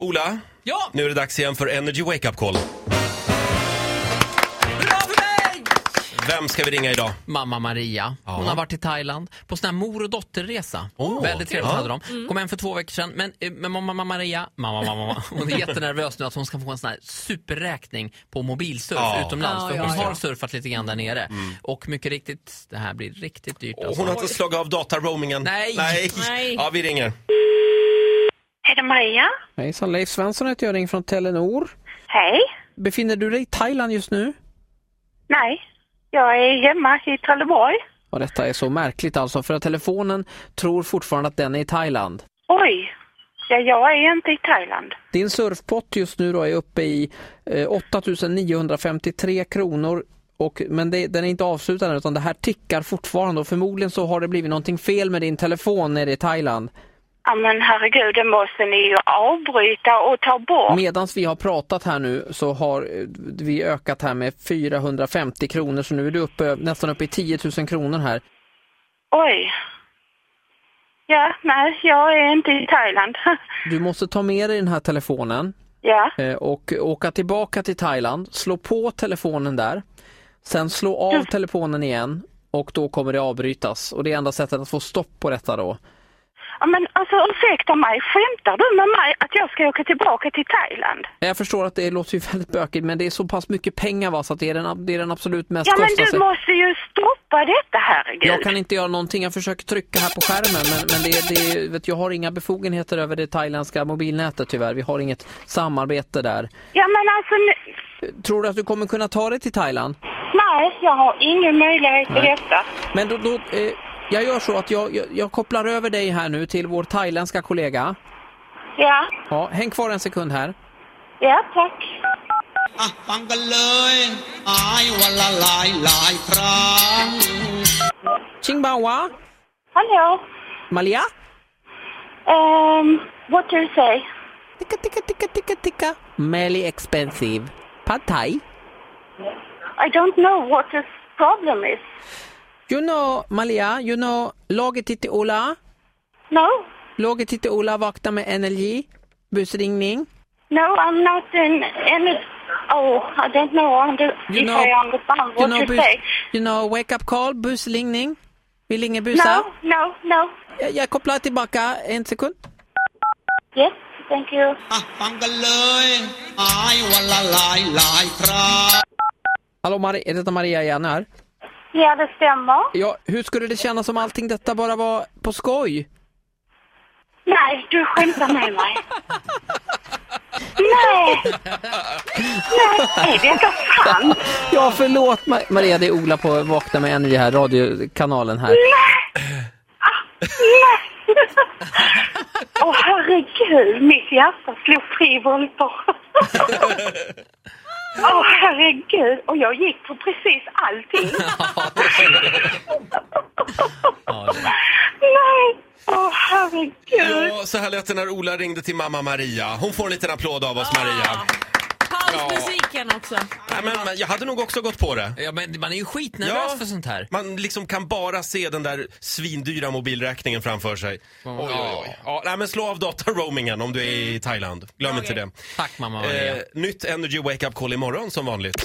Ola, Ja, nu är det dags igen för Energy Wake Up Call. bra för mig! Vem ska vi ringa idag? Mamma Maria, hon Ja. har varit i Thailand på sån här mor och dotterresa. Åh. Väldigt trevligt Ja. hade de. Kom hem för två veckor sedan. Men, eh, men mamma Maria, mamma, mamma, mamma, hon är jättenervös nu att hon ska få en sån här superräkning på mobilsurf Ja. Mm. utomlands. Ja, För ja, hon ja. har surfat lite grann där nere. Och mycket riktigt, det här blir riktigt dyrt Och alltså. hon har inte slagit av dataroamingen. Nej. Nej. Ja, vi ringer. Är det Maria? Hejsan, Leif Svensson heter jag, ringer från Telenor. Hej. Befinner du dig i Thailand just nu? Nej, jag är hemma i Trelleborg. Och detta är så märkligt alltså, för att telefonen tror fortfarande att den är i Thailand. Oj, ja, jag är inte i Thailand. Din surfpott just nu då är uppe i eh, 8953 kronor, och, men det, den är inte avslutad än, utan det här tickar fortfarande och förmodligen så har det blivit någonting fel med din telefon nere i Thailand. Ja, men herregud, det måste ni ju avbryta och ta bort. Medan vi har pratat här nu så har eh, vi ökat här med 450 kronor, så nu är du uppe, nästan uppe i 10 000 kronor här. Oj. Ja, nej, jag är inte i Thailand. Du måste ta med dig den här telefonen ja, eh, och åka tillbaka till Thailand, slå på telefonen där, sen slå av telefonen igen och då kommer det avbrytas. Och det är enda sättet att få stopp på detta då. ja, men alltså ursäkta mig, skämtar du med mig att jag ska åka tillbaka till Thailand? Jag förstår att det låter ju väldigt bökigt men det är så pass mycket pengar va så att det är den, det är den absolut mest Ja, men du kostnadseffektiva. måste ju stoppa detta, herregud. Jag kan inte göra någonting, jag försöker trycka här på skärmen men, men det, det, vet, jag har inga befogenheter över det thailändska mobilnätet tyvärr. Vi har inget samarbete där. Ja, men alltså, nu- Tror du att du kommer kunna ta dig till Thailand? nej, jag har ingen möjlighet till Nej. detta. Men då, då eh, jag gör så att jag, jag, jag kopplar över dig här nu till vår thailändska kollega. Ja, Ja, häng kvar en sekund här. ja, tack. อ่ะฟังกันเลยอายวันละหลายหลายครั้ง Chingbawa, Hello. Malia, Um, what do you say? ticka ticka ticka ticka ticka. Meli expensive. Pad thai. I don't know what the problem is. You know, Malia, you know, laget titti Ola. No, Laget titti Ola vakna med energi. Busringning. no, I'm not in any. Oh, I don't know under, You if know- I understand You what you, know, bus, say. you know, wake up call, busringning. Vill ingen busa? No, no, no. Jag, jag kopplar tillbaka en sekund. Yes, thank you. Ah. อ่ะฟังกันเลยอายวันละหลายหลายครั้ง Hallå, Mari- är detta Maria igen här? Ja, det stämmer. Ja, hur skulle det kännas om allting detta bara var på skoj? Nej, du skämtar med mig. Nej! Nej, det är inte sant. Ja, förlåt Ma- Maria, det är Ola på Vakna med Energy här, radiokanalen här. Ah, Nej! Åh, herregud, mitt hjärta slog tre volter. Åh, herregud. Och jag gick på precis allting. Nej! Åh, herregud. Ja, så här lät det när Ola ringde till mamma Maria. Hon får en liten applåd av oss, Maria. Pausmusiken också. Nej, men, men jag hade nog också gått på det. Ja, men man är ju skitnervös Ja. för sånt här. Man liksom kan bara se den där svindyra mobilräkningen framför sig. Oj, oj, oj. Ja, nej, men slå av dataroamingen om du är i Thailand. Glöm inte det. Tack mamma Maria. Eh, nytt Energy Wake Up Call imorgon som vanligt.